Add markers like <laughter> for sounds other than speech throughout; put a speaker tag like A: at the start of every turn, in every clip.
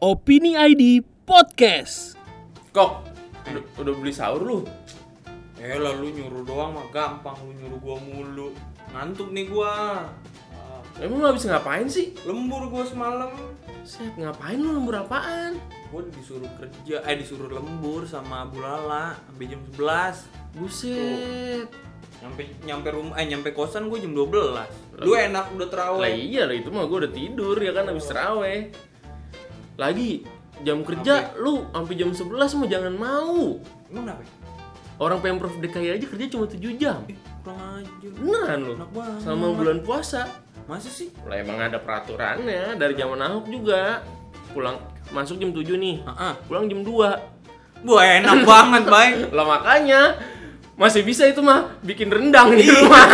A: Opini ID Podcast.
B: Kok udah, udah beli sahur lu? Eh lah lu nyuruh doang mah gampang lu nyuruh gua mulu. Ngantuk nih gua. Ah,
C: Emang lu habis ngapain sih?
B: Lembur gua semalam.
C: Set, ngapain lu lembur apaan?
B: Gua disuruh kerja, eh disuruh lembur sama Bu Lala sampai jam 11.
C: Buset.
B: Nyampe nyampe rumah eh nyampe kosan gua jam 12. Lu enak
C: Lah
B: udah terawih.
C: iya lah itu mah gue udah tidur ya kan habis terawih. Lagi jam kerja lu sampai jam 11 mah jangan mau.
B: Emang kenapa? ya?
C: Orang Pemprov DKI aja kerja cuma 7 jam.
B: Ih, kurang aja.
C: Beneran lu.
B: Enak banget.
C: Selama bulan puasa.
B: Masa sih?
C: Lah emang ada peraturannya dari zaman Ahok juga. Pulang masuk jam 7 nih.
B: Heeh.
C: Pulang jam 2.
B: Wah, enak <laughs> banget, Bay.
C: Lah makanya masih bisa itu mah bikin rendang di
B: <laughs>
C: rumah.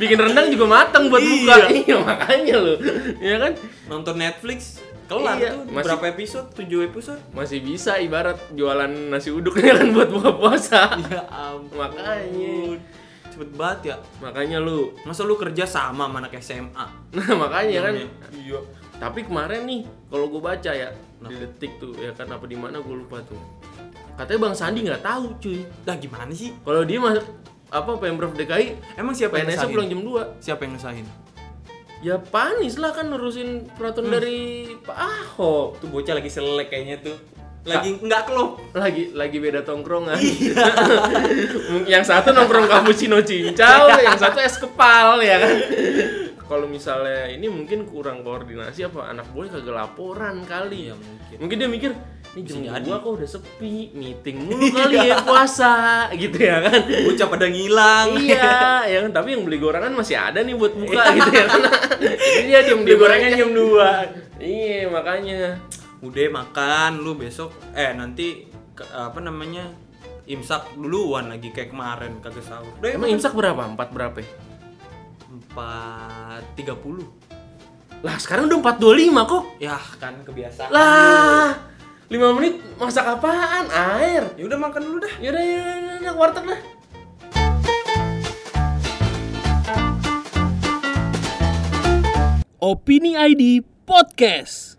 C: bikin rendang juga matang buat buka. Iya makanya lo. Iya kan?
B: Nonton Netflix kelar
C: Iya,
B: tuh
C: masih-
B: berapa episode? 7 episode.
C: Masih bisa ibarat jualan nasi uduk ya kan buat buka puasa.
B: Ya ampun.
C: Makanya.
B: Cepet banget ya.
C: Makanya lu.
B: Masa lu kerja sama sama anak SMA?
C: Nah, makanya kan.
B: Iya.
C: Tapi kemarin nih kalau gue baca ya di detik tuh ya kan apa di mana gue lupa tuh. Katanya Bang Sandi nggak tahu cuy.
B: Lah gimana sih?
C: Kalau dia masuk apa Pemprov DKI
B: Emang siapa yang
C: PNS-nya
B: ngesahin?
C: pulang jam 2
B: Siapa yang ngesahin?
C: Ya Panis lah kan nerusin peraturan
B: Hmm.
C: dari Pak Ahok.
B: Tuh bocah lagi selek kayaknya tuh. Lagi nggak klop.
C: lagi lagi beda tongkrongan.
B: Iya.
C: Mungkin <laughs> yang satu nongkrong cappuccino
B: <laughs>
C: cincau, yang satu es kepal ya kan. Kalau misalnya ini mungkin kurang koordinasi apa anak gue kagak laporan kali ya.
B: Iya, mungkin.
C: Mungkin dia mikir ini
B: Bisa
C: jam
B: jadi. Iya.
C: dua kok udah sepi, meeting
B: <laughs>
C: mulu kali ya puasa gitu ya kan.
B: Bocah pada ngilang.
C: iya, ya kan tapi yang beli gorengan masih ada nih buat buka gitu ya kan. Jadi dia diem
B: Iya. Beli gorengan jam 2.
C: Iya, makanya.
B: Udah makan lu besok eh nanti ke- apa namanya? Imsak duluan lagi kayak kemarin kagak sahur. Udah kan?
C: Emang imsak berapa? Empat berapa? ya?
B: empat tiga puluh.
C: Lah sekarang udah 425 kok.
B: Yah kan kebiasaan.
C: Lah 5 menit masak apaan? Air.
B: Ya udah makan dulu dah.
C: Yaudah, yaudah, yaudah, yaudah, warteg lah.
A: Opini ID Podcast.